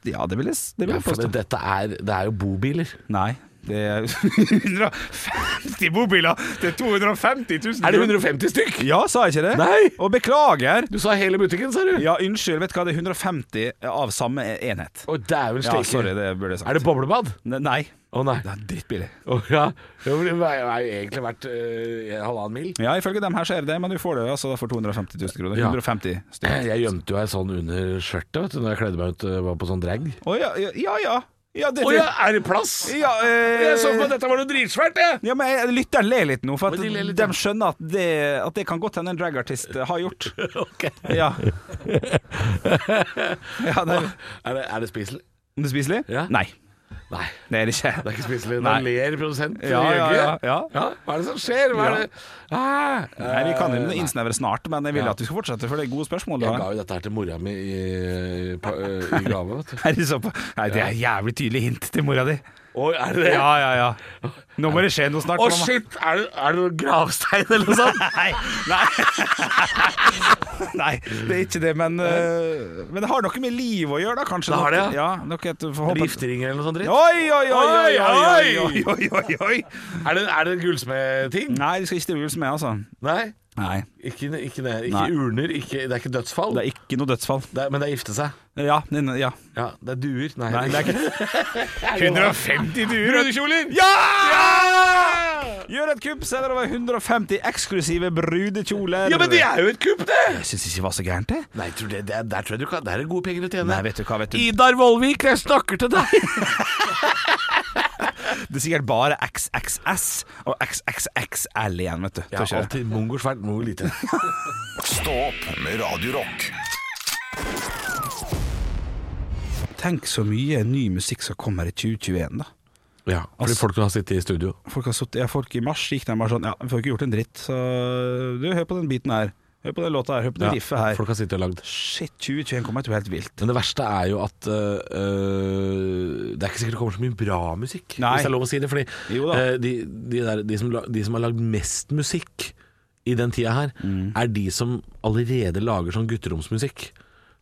S4: Ja, det vil jeg, s- det vil
S3: ja
S4: jeg
S3: for
S4: påstå.
S3: det, dette er, det er jo bobiler.
S4: Nei. Det er *laughs* 150 bobiler! Det er 250 000
S3: Er det 150 stykk?
S4: Ja, sa jeg ikke det?
S3: Nei!
S4: Og beklager!
S3: Du sa hele butikken, sa du?
S4: Ja, unnskyld, vet du hva, det er 150 eh, av samme enhet.
S3: Å, dæven
S4: Ja,
S3: steike.
S4: sorry, det burde jeg sagt.
S3: er det boblebad?
S4: Ne- Nei.
S3: Å nei.
S4: Det er drittbillig.
S3: Å ja. Jo, men Det er jo er jo egentlig verdt øh, en halvannen mil.
S4: Ja, ifølge dem her så er det det, men du får det altså for 250 000 kroner.
S3: Ja.
S4: 150 stykker.
S3: Jeg gjemte jo ei sånn under skjørtet vet du, når jeg kledde meg ut øh, var på sånn drag.
S4: Å ja, ja, ja. ja. ja det,
S3: Å ja, er det plass?
S4: ja eh,
S3: Jeg så på at dette var noe dritsvært,
S4: *laughs*
S3: jeg!
S4: Ja, men jeg- Lytteren ler litt nå, for at
S3: Å, de ler
S4: de,
S3: litt, ja.
S4: skjønner at det, at det kan godt hende en dragartist eh, har gjort.
S3: Ok. *laughs*
S4: Ja. *laughs* ja det er,
S3: Er det, er det spiselig?
S4: om det er spiselig?
S3: Ja.
S4: Nei,
S3: Nei,
S4: det er det ikke.
S3: det er ikke spiselig. Da
S4: Nei.
S3: ler produsenten
S4: Ja,
S3: og
S4: ja,
S3: jøgger.
S4: ja, ja.
S3: Hva er det som skjer? Hva er
S4: Ja.
S3: det? Ah,
S4: Nei, Vi kan jo
S3: eh,
S4: innsnevre snart, men jeg vil
S3: Ja.
S4: at du skal fortsette, for det er gode spørsmål. du
S3: Jeg ga
S4: *laughs* har.
S3: jo dette her til mora mi i, på, øh, i gave, vet du.
S4: Er det, så på? Nei, det er jævlig tydelig hint til mora di.
S3: Å, *laughs* er det det?
S4: Ja, ja, ja. Nå må det skje noe snart.
S3: Å
S4: mamma.
S3: shit, er det, er det noen gravstein eller noe *laughs* sånt?
S4: *laughs* Nei, nei. *laughs* nei, det er ikke det, men øh, Men det har noe med liv å gjøre, da, kanskje.
S3: Det har det,
S4: ja. noe et, får håpe-
S3: Gifteringer eller noe sånt dritt?
S4: Oi, oi, oi, oi, oi, oi,
S3: Oi,
S4: oi, oi, oi.
S3: Er det, er det en gullsmedting?
S4: Nei, du skal ikke til jul som meg, altså.
S3: Nei.
S4: Nei.
S3: Ikke, ikke det. Ikke
S4: Nei.
S3: urner, ikke, det er ikke dødsfall.
S4: Det er ikke noe dødsfall.
S3: Det er- men det er gifte seg.
S4: Ja, det er- ja.
S3: Ja, det er duer. Nei,
S4: Nei, det er ikke
S3: 150 duer! *laughs* Røde kjoler!
S4: Ja! Gjør et kupp, selger over 150 eksklusive brudekjoler.
S3: Ja, men det er jo et kupp, det!
S4: Jeg syns ikke det var så gærent, det.
S3: Nei, tror det, det, er- der tror jeg du kan Der er det gode penger å tjene.
S4: Nei, vet du hva, vet du.
S3: Idar Vollvik, jeg snakker til deg!
S4: Det er sikkert bare XXS og XXXL igjen, vet du.
S3: Ja,
S4: Tror ikke det.
S3: alltid mongo svært, mongo lite.
S1: Stå opp med Radio Rock.
S4: Tenk så mye ny musikk som kommer i 2021, da.
S3: Ja, fordi
S4: Altså-
S3: folk som har sittet i studio.
S4: Folk, har suttet, ja, folk i mars gikk der bare sånn Ja, vi får ikke gjort en dritt, så du, hør på den biten her. Hør på den låta her, hør på det
S3: Ja,
S4: riffet her.
S3: Folk har sittet og lagd.
S4: Shit, 2021 kommer til å bli helt vilt.
S3: Men det verste er jo at øh, øh, det er ikke sikkert det kommer så mye bra musikk,
S4: Nei.
S3: hvis det er lov å si det. Fordi
S4: Jo da.
S3: øh, de, de, der, de, som, la- de som har lagd mest musikk i den tida her,
S4: Mm.
S3: er de som allerede lager sånn gutteromsmusikk.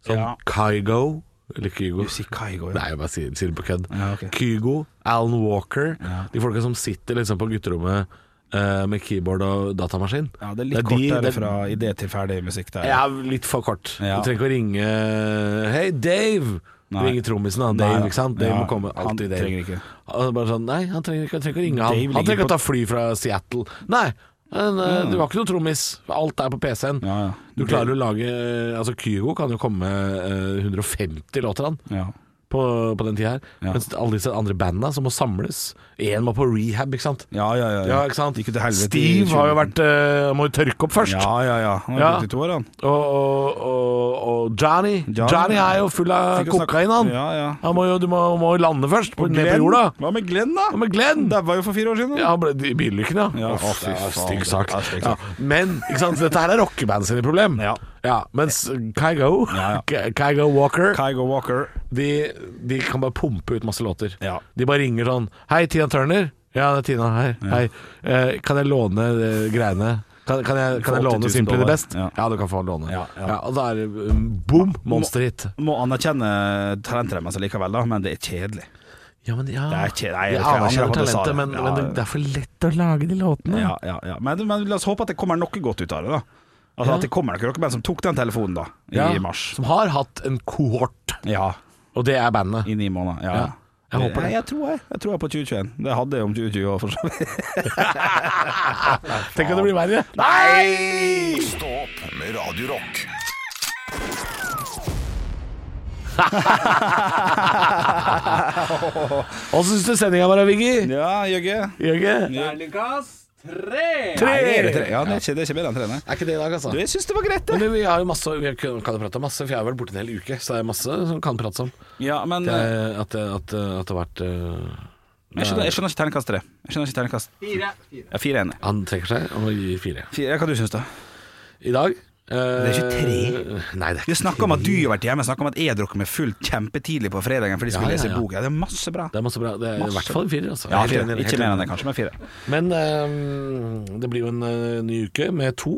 S3: Sånn
S4: Ja.
S3: Kygo Eller Kygo.
S4: Du sier Kygo, ja.
S3: Nei, jeg bare sier, sier det på kødd.
S4: Ja, ok.
S3: Kygo, Alan Walker,
S4: Ja.
S3: de folka som sitter liksom på gutterommet øh, med keyboard og datamaskin.
S4: Ja, det er litt
S3: de-
S4: kortere
S3: det-
S4: fra idé til ferdig musikk der.
S3: ja, litt for kort.
S4: Ja.
S3: Du trenger ikke å ringe Hei, Dave! Du
S4: Nei.
S3: ringer trommisen, da.
S4: Nei,
S3: Dave,
S4: ja.
S3: ikke sant? Dave
S4: Ja,
S3: må komme.
S4: han
S3: Alltid Dave.
S4: trenger ikke.
S3: Han er bare sånn, nei, han trenger ikke, han trenger ikke å ringe
S4: Dave
S3: han. Han
S4: ligger
S3: trenger ikke
S4: på-
S3: å ta fly fra Seattle. Nei, men, eh, du var ikke noe trommis. Alt er på PC-en.
S4: Ja, ja.
S3: Du klarer å lage Altså, Kygo kan jo komme eh, 150 låter, han.
S4: ja.
S3: På, på den tida her.
S4: Ja.
S3: Mens alle disse andre banda som må samles Én må på rehab, ikke sant?
S4: Ja, ja, ja.
S3: Ja, ikke sant?
S4: Gikk jo til helvete i
S3: Steve har jo
S4: 2019.
S3: vært eh, Må jo tørke opp først.
S4: Ja, ja, ja. Han har
S3: Ja.
S4: brukt i to år, han.
S3: Og, og, og, og Johnny
S4: Johnny.
S3: Johnny er jo full av
S4: Tenk å snakke-
S3: kokain, han.
S4: Ja, ja.
S3: Han må jo, du må, må jo lande først, på, ned på jorda.
S4: Hva med Glenn, da?
S3: Og med Glenn
S4: Det var jo for fire år siden.
S3: ja, han ble i bilulykken, ja.
S4: Ja,
S3: Uff,
S4: å, fy
S3: det er en
S4: faen.
S3: Stygg sak.
S4: Det er en stygg
S3: Ja,
S4: sak.
S3: men ikke sant? dette her er rockeband sine problem.
S4: Ja.
S3: mens Kygo,
S4: Ja,
S3: Ky- Kygo Walker,
S4: Kygo Walker.
S3: de, de kan bare pumpe ut masse låter.
S4: Ja.
S3: De bare ringer sånn Hei, Tina Turner. Ja, det er Tina her. Hei. Eh, kan jeg låne eh, greiene? Kan, kan jeg, kan
S4: For
S3: jeg
S4: 80 000
S3: låne Simply the
S4: dollar.
S3: Best?
S4: Ja.
S3: Ja. du kan få låne.
S4: Ja, ja.
S3: og da er det um, boom, monsterhit.
S4: Må anerkjenne talentet deres likevel, da, men det er kjedelig.
S3: Ja, men ja.
S4: Det er ikke- nei, jeg
S3: jeg
S4: tror jeg
S3: anerkjenner
S4: angrer på at jeg sa
S3: talentet,
S4: det.
S3: men,
S4: Ja.
S3: men det, det er for lett å lage de låtene.
S4: Ja, ja, ja. Men, men la oss håpe at det kommer noe godt ut av det, da. Altså
S3: Ja.
S4: At det kommer noen rockeband som tok den telefonen, da, i
S3: Ja,
S4: mars.
S3: Som har hatt en kohort,
S4: Ja,
S3: og det er bandet.
S4: i ni måneder. Ja.
S3: Ja, jeg håper det.
S4: Nei, jeg tror jeg. Jeg tror jeg på 2021. Det hadde jeg om 2020 òg, for så vidt.
S3: Tenk om det blir verre.
S4: Nei!
S1: Stå opp med Radio Rock.
S3: Hva syns du sendinga var, Viggy?
S4: Ja, Jøgge.
S3: Jørgen?
S5: Terningkast tre!
S4: Tre! er det tre? Ja, det er ikke, det er ikke bedre enn tre, nei.
S3: Er ikke det i dag, altså?
S4: Du, jeg syns det var greit, det.
S3: Men vi har jo masse Vi kan kan jo prate om masse, for jeg har vært borte en hel uke, så det er masse som kan prates om.
S4: Ja, men
S3: Det
S4: eh,
S3: er, at, det- at, det- at det har vært eh,
S4: jeg skjønner, jeg skjønner ikke terningkast tre. Jeg skjønner ikke terningkast
S5: Fire. Fire.
S4: ja, Fire enig.
S3: Han trekker seg og gir fire.
S4: Fire, hva du syns du?
S3: I dag Det
S4: er ikke tre.
S3: Nei, det er
S4: Vi
S3: ikke
S4: snakker om at du har vært hjemme, snakker om at jeg drukket meg full kjempetidlig på fredagen fordi jeg skulle
S3: Ja, ja,
S4: lese
S3: ja.
S4: bok. Ja, det er masse bra.
S3: Det er masse bra. Det er i
S4: Masse.
S3: hvert fall en firer, altså.
S4: Ja,
S3: Helt
S4: fire.
S3: enig, helt
S4: Ikke mer enn
S3: enig.
S4: det, kanskje, men fire.
S3: Men eh, det blir jo en eh, ny uke med to.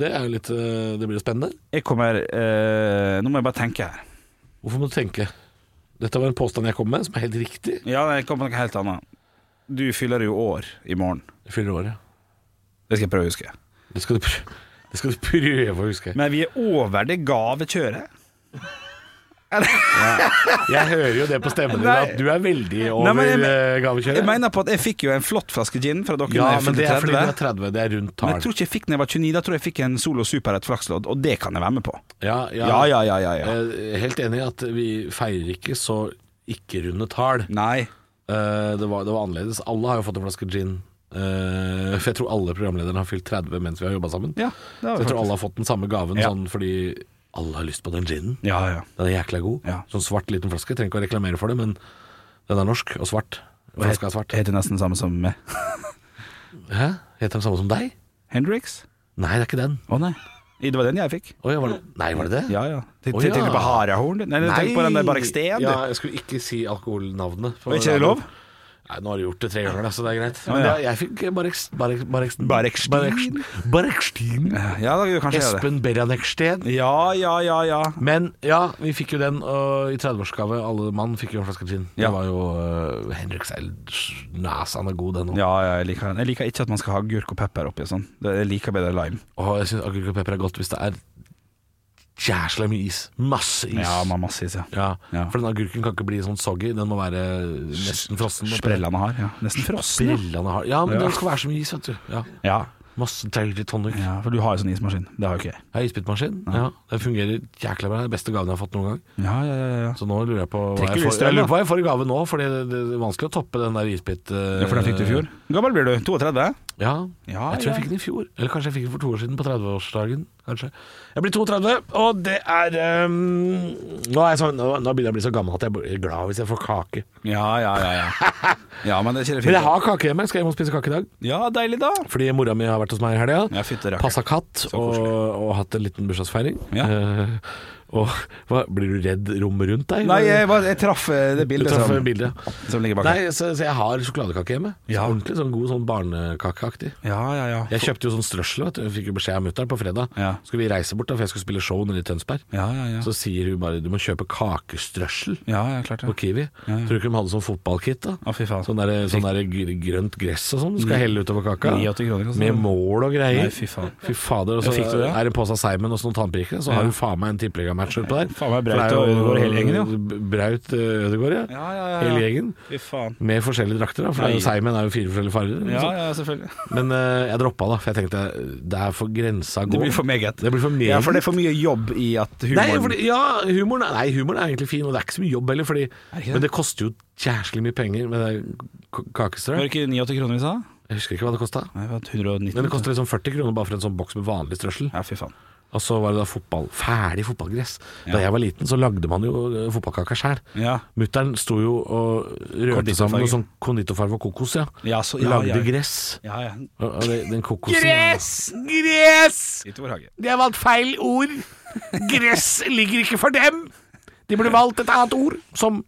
S3: Det er jo litt eh, Det blir jo spennende.
S4: Jeg kommer eh, Nå må jeg bare tenke her.
S3: Hvorfor må du tenke? Dette var en påstand jeg kom med, som er helt riktig.
S4: Ja, jeg kommer på noe helt annet. Du fyller jo år i morgen.
S3: Jeg fyller året.
S4: Det skal jeg prøve å huske.
S3: Det skal du prøve, det skal du prøve å huske.
S4: Men vi er over det gavekjøret.
S3: Jeg hører jo det på stemmen din
S4: Nei.
S3: at du er veldig over
S4: Nei, men jeg men-
S3: eh,
S4: Jeg
S3: gavekjøret.
S4: mener på at jeg fikk jo en flott flaske gin fra dere
S3: Ja,
S4: da jeg
S3: men det
S4: fylte
S3: er fordi du
S4: 30.
S3: er 30. Det er rundt
S4: Men jeg
S3: tall.
S4: tror ikke jeg fikk den jeg var 29. Da tror jeg jeg fikk en Solo Super et flakslodd, og det kan jeg være med på.
S3: Ja,
S4: Ja, ja, ja, ja. ja.
S3: Eh, Helt enig i at vi feirer ikke så ikke-runde tall.
S4: Nei.
S3: Eh, det, var, det var annerledes. Alle har jo fått en flaske gin. Eh, for jeg tror alle programlederne har fylt 30 mens vi har jobba sammen.
S4: Ja,
S3: så jeg
S4: det har vi
S3: tror
S4: faktisk.
S3: alle har fått den samme gaven,
S4: Ja.
S3: sånn fordi alle har lyst på den ginen.
S4: Ja, ja.
S3: Den er jækla god.
S4: Ja.
S3: Sånn svart liten flaske. Trenger ikke å reklamere for det, men den er norsk og svart. Flaska er svart.
S4: Jeg heter nesten samme som meg.
S3: Hæ? Heter den samme som deg?
S4: Hendrix?
S3: Nei, det er ikke den.
S4: Å nei. Det var den jeg fikk.
S3: Oi, var det? Nei, var det det?
S4: Ja, ja. Tenk-
S3: Å,
S4: tenk-
S3: ja.
S4: Tenkte du på Harahorn? du? Nei, du tenkte på den der Barksten, du.
S3: Ja, jeg skulle ikke si alkoholnavnet. på
S4: Er ikke det
S3: radioen.
S4: lov?
S3: Nei, nå har du gjort det tre ganger, da, så det er greit.
S4: Ja,
S3: Men
S4: ja.
S3: det- jeg fikk Bareks- Barek- Bareksten
S4: Bareksten.
S3: Bareksten. Bareksten.
S4: Ja, da kanskje jeg gjør det.
S3: Espen Berjaneksten.
S4: Ja, ja, ja, ja.
S3: Men ja, vi fikk jo den og i 30-årsgave. Alle mann fikk jo en flaske gin.
S4: Ja.
S3: Det var jo uh, Henrik Seldnes. Han er god, den òg.
S4: Ja, ja, jeg liker den. Jeg liker ikke at man skal ha agurk og pepper oppi og sånn. Det- Jeg liker bedre lime.
S3: Og jeg syns agurk og pepper er godt hvis det er jæsla mye is. Masse is.
S4: Ja, man har masse is, ja.
S3: Ja,
S4: Ja.
S3: For den agurken kan ikke bli sånn soggy. Den må være nesten frossen.
S4: Sprellene har, ja. Nesten frosne.
S3: Sprellene har Ja, men
S4: Ja.
S3: det skal være så mye is, vet du. Ja.
S4: Ja.
S3: Masse deilig tonic.
S4: ja, for du har jo sånn ismaskin. Det har jo ikke jeg.
S3: Jeg har isbitmaskin. Ja. Den fungerer jækla bra. Det er Den beste gaven jeg har fått noen gang.
S4: Ja, ja, ja, ja.
S3: Så nå lurer jeg på hva
S4: Trekker
S3: jeg
S4: du
S3: får,
S4: strøm,
S3: jeg
S4: da?
S3: lurer på hva jeg får i gave nå, for det, det er vanskelig å toppe den der isbit... eh,
S4: Ja, for den fikk du i fjor. Hvor gammel blir du? 32?
S3: Ja.
S4: Ja,
S3: jeg tror
S4: ja.
S3: jeg fikk den i fjor. Eller kanskje jeg fikk den for to år siden, på 30-årsdagen. Kanskje. Jeg blir 32, og det er ehm, nå, er jeg sånn, nå, nå begynner jeg å bli så gammel at jeg blir glad hvis jeg får kake.
S4: Ja, ja, ja. Ja, *laughs* ja men det er ikke det
S3: Men jeg
S4: fint.
S3: har kake hjemme. Skal hjem og spise kake i dag.
S4: Ja, deilig, da.
S3: Fordi mora mi har vært hos meg i helga.
S4: Ja, fytte rakker.
S3: Passa katt og,
S4: koselig.
S3: og hatt en liten bursdagsfeiring.
S4: Ja.
S3: Eh, og hva, blir du redd rommet rundt deg?
S4: Nei, jeg, var, jeg traff eh, det
S3: Du
S4: bildet
S3: traff
S4: som,
S3: bildet.
S4: som ligger bak. her.
S3: Nei, så, så jeg har sjokoladekake hjemme. Så
S4: Ja.
S3: Ordentlig sånn god sånn barnekakeaktig.
S4: Ja, ja, ja.
S3: Jeg kjøpte jo sånn strøssel, vet du. Jeg fikk jo beskjed av mutter'n på fredag.
S4: Ja.
S3: Skulle vi reise bort da, for jeg skulle spille show nede i Tønsberg.
S4: Ja, ja, ja.
S3: Så sier hun bare du må kjøpe kakestrøssel
S4: Ja, ja, klart
S3: på
S4: det.
S3: Kiwi. Tror du ikke de hadde sånn fotballkit da?
S4: Å, fy faen.
S3: Sånn der, sånn der gr- grønt gress og sånn du skal helle utover kaka.
S4: 89 kroner, altså.
S3: Med mål og greier.
S4: Nei, fy faen.
S3: Fy fader. Og så
S4: Fikk du det?
S3: er det en pose av seigmenn og så noen tannpirkere, så har du faen meg en tippeligamatch utpå der.
S4: Faen meg
S3: For det
S4: Braut
S3: er
S4: og
S3: jo-
S4: Ødegaard hele gjengen, jo.
S3: Braut eh, Ødegaard, ja.
S4: Ja, ja, ja, ja.
S3: Hele gjengen.
S4: Fy faen.
S3: Med forskjellige drakter, da. For det er jo- seigmenn er jo fire forskjellige farger. eller noe
S4: Ja,
S3: sånt.
S4: ja, selvfølgelig.
S3: Men eh, jeg droppa, da. For jeg tenkte det er for grensa å gå.
S4: Det blir for meget.
S3: Det blir for meget.
S4: Ja, for det er for mye jobb i at
S3: Nei,
S4: humoren
S3: fordi, ja, humoren er, nei, humoren er egentlig fin, og det er ikke så mye jobb heller. Fordi,
S4: det ikke
S3: men
S4: det?
S3: det koster jo jævlig mye penger med det k-
S4: Var
S3: kakestrø.
S4: det ikke 89 kroner vi sa?
S3: Jeg husker ikke hva det kosta.
S4: Nei, det var 190.
S3: Men det koster liksom 40 kroner bare for en sånn boks med vanlig strøssel.
S4: Ja, fy faen.
S3: Og så var det da fotball. Ferdig fotballgress. Da jeg var liten, så lagde man jo eh, fotballkaka sjæl.
S4: Ja.
S3: Mutter'n sto jo og rørte sammen
S4: Konditorfarge.
S3: noe sånn konditorfarge og kokos, ja.
S4: Ja, så- ja,
S3: lagde
S4: ja, ja.
S3: gress.
S4: Ja, ja.
S3: Og, og det, den kokosen
S5: Gress!
S4: Litt overhage.
S3: De har valgt feil ord. Gress ligger ikke for dem. De burde valgt et annet ord, som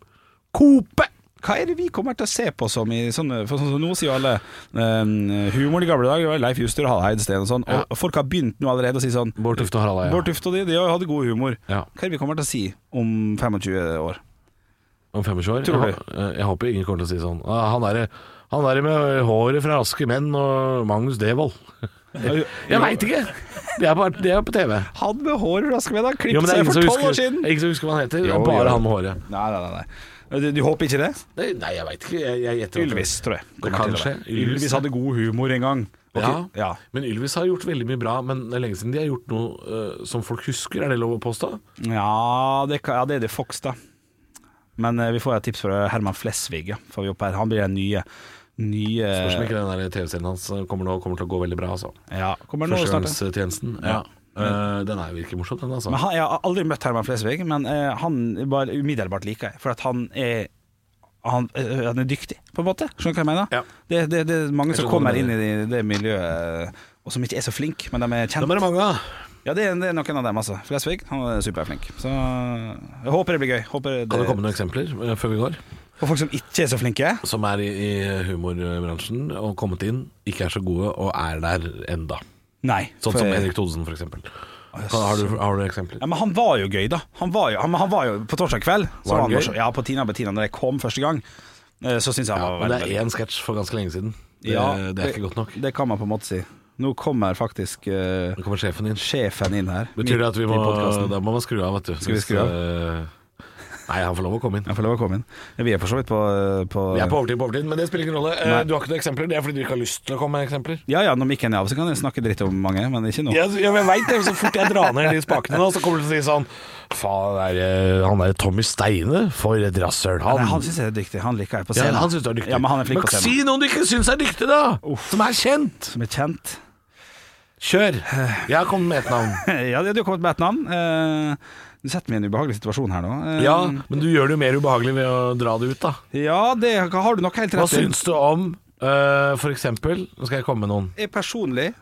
S3: kope.
S4: Hva er det vi kommer til å se på som i sånne For sånn som nå sier jo alle eh, humor i gamle dager. det var Leif Juster og Harald Heidsten og sånn. Og folk har begynt nå allerede å si sånn
S3: Bård Tufte og Harald Eia.
S4: Bård Tufte og de, de hadde god humor.
S3: Ja.
S4: Hva er det vi kommer til å si om 25 år?
S3: Om 25 år?
S4: Tror du?
S3: Jeg, hå- eh, jeg håper ingen kommer til å si sånn. Ah, Han derre han der med håret fra Raske menn og Magnus
S4: *laughs*
S3: Devold. Jeg veit ikke! Det er, bare, det er på TV.
S4: Han med hår flaske med, han
S3: Jo, men
S4: klippet
S3: det er
S4: seg
S3: ingen
S4: for
S3: som
S4: tolv
S3: husker,
S4: år siden!
S3: ingen som husker hva han heter. Det
S4: Jo,
S3: er bare
S4: jo.
S3: han med håret.
S4: Nei, nei, nei. nei. Du, du håper ikke det?
S3: Nei, nei jeg veit ikke. Jeg, jeg gjetter at-
S4: Ylvis, tror jeg.
S3: Det
S4: kommer
S3: kan
S4: til å være.
S3: skje. Ylvis,
S4: Ylvis
S3: ja.
S4: hadde god humor en gang. Ok,
S3: Ja.
S4: ja.
S3: Men Ylvis har gjort veldig mye bra. Men det er lenge siden de har gjort noe eh, som folk husker, er det lov å påstå?
S4: Ja, det, kan- ja, det er det Fox, da. Men eh, vi får et tips fra Herman Flesvig. Ja, får vi opp her. Han blir den nye, nye
S3: Spørs om ikke den der TV-serien hans eh, kommer, nå, kommer til å gå veldig bra, altså.
S4: ja, Kommer nå snart. ja.
S3: Førstegangstjenesten. Ja. Eh, den er virker morsom, den, altså.
S4: Men han, jeg har aldri møtt Herman Flesvig, men eh, han bare umiddelbart liker jeg. For at han er han, eh, han er dyktig, på en måte. Skjønner du hva jeg mener?
S3: Ja.
S4: Det, det, det er mange
S3: Jeg
S4: som
S3: skjønner hva
S4: kommer
S3: du
S4: inn i
S3: mener.
S4: det, det miljøet, eh, og som ikke er så flink, men de er
S3: Dem er
S4: kjent.
S3: det mange av.
S4: Ja, det er, det er noen av dem, altså. Flesvig han er superflink. Så jeg håper det blir gøy. Håper det,
S3: Kan det komme noen eksempler eh, før vi går?
S4: Og folk som ikke er så flinke.
S3: Som er i, i humorbransjen og kommet inn, ikke er så gode og er der enda.
S4: Nei.
S3: Sånn
S4: for-
S3: som Henrik Thodesen, for eksempel. Kan, har, du, har du eksempler?
S4: Ja, men han var jo gøy, da. Han var jo, han, han var jo På torsdag kveld så
S3: Var han
S4: var
S3: gøy?
S4: Ja, på Tina Bettina, når jeg kom første gang, eh, så syns jeg han
S3: Ja,
S4: var
S3: men det
S4: veldig-
S3: er én sketsj for ganske lenge siden. Det,
S4: Ja,
S3: det er ikke godt nok.
S4: Det kan man på en måte si. Nå kommer faktisk eh,
S3: Nå kommer sjefen din.
S4: sjefen inn her.
S3: Betyr det at vi
S4: midt
S3: må
S4: i podcasten.
S3: Da må man skru av, vet du.
S4: Skal vi
S3: Hvis,
S4: skru av?
S3: eh, Nei, han får lov å komme inn.
S4: Jeg får lov å komme inn. Vi er for så vidt på, eh, på,
S3: Vi er på overtid, på overtid, men det spiller ingen rolle. Eh,
S4: Nei.
S3: Du har ikke noen eksempler? Det er fordi du ikke har lyst til å komme med eksempler?
S4: Ja ja, når mikken er av, så kan jeg snakke dritt om mange, men ikke nå.
S3: Ja, ja, men jeg veit det. Så fort jeg drar ned de spakene nå, så kommer du til å si sånn Faen, det er, eh, han der Tommy Steine, for et rasshøl.
S4: Nei,
S3: Han,
S4: han syns jeg er dyktig. Han liker jeg på
S3: ja,
S4: scenen.
S3: han syns du er dyktig.
S4: Ja, men han er flink på
S3: si
S4: scenen.
S3: noen du ikke syns er dyktig, da! Som er kjent!
S4: Som er kjent. *laughs*
S3: Kjør! Jeg har kommet med et navn.
S4: ja, du har kommet med et navn. Eh, du setter meg i en ubehagelig situasjon her nå. Eh,
S3: *laughs* Ja, men du gjør det jo mer ubehagelig ved å dra det ut, da.
S4: ja, det har du nok helt
S3: Hva
S4: rett i.
S3: syns du om eh, for eksempel Nå skal jeg komme med noen.
S4: Jeg personlig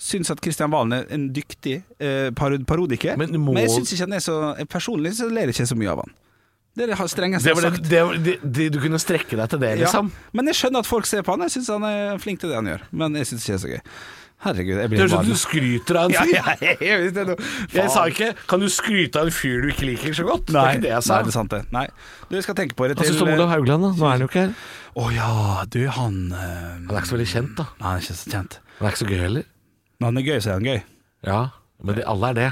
S4: syns at Kristian Valen er en dyktig eh, parod parodiker,
S3: Men må-
S4: jeg syns ikke han er så jeg Personlig så ler jeg ikke så mye av han. Det er det strengeste
S3: Det
S4: jeg har
S3: var
S4: sagt.
S3: det, det, var- det, det, du kunne strekke deg til det, liksom.
S4: Ja. Men jeg skjønner at folk ser på han. Jeg syns han er flink til det han gjør, men jeg syns ikke det er så gøy. Herregud, jeg
S3: Det
S4: blir
S3: høres ut
S4: varm.
S3: som du skryter av en
S4: *laughs* Ja,
S3: fyr.
S4: ja, jeg, visste det nå.
S3: Jeg sa
S4: sånn Faen.
S3: ikke 'kan du skryte av en fyr du ikke liker så godt'. det
S4: Nei,
S3: er eh, ikke det jeg sa.
S4: Nei, det er sant det. Altså, Nei. Du, jeg skal tenke på det
S3: Hva
S4: til
S3: syns du om Olav Haugland? da? Nå er han jo ikke her.
S4: Å ja, du, han eh,
S3: Han er ikke så veldig kjent, da.
S4: Nei, han er ikke så kjent.
S3: Han er ikke så gøy heller.
S4: Når han er gøy, så er han gøy.
S3: Ja, men de, alle er *laughs* det.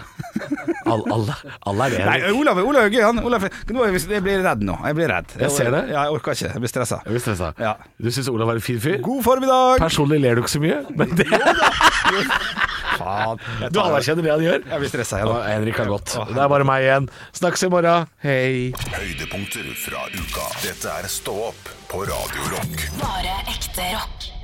S3: Alle, alle, alle er det.
S4: Nei, Olav, Olav er gøy, han. Olav, nå er jeg, jeg blir redd nå. Jeg blir redd.
S3: Jeg ser det.
S4: Ja, jeg orker ikke. Jeg blir stressa.
S3: Jeg blir stressa.
S4: Ja.
S3: Du syns Olav er en fin fyr?
S4: God formiddag!
S3: Personlig ler du ikke så mye, men det, *laughs*
S4: Faen. Jeg
S3: du
S4: tar-
S3: anerkjenner det han gjør.
S4: Jeg blir stressa, jeg
S3: Ja,
S4: nå.
S3: Henrik har gått. Det er bare meg igjen. Snakkes i morgen. Hei.
S1: Høydepunkter fra uka. Dette er Stå opp på Radio Rock.
S2: Bare ekte rock.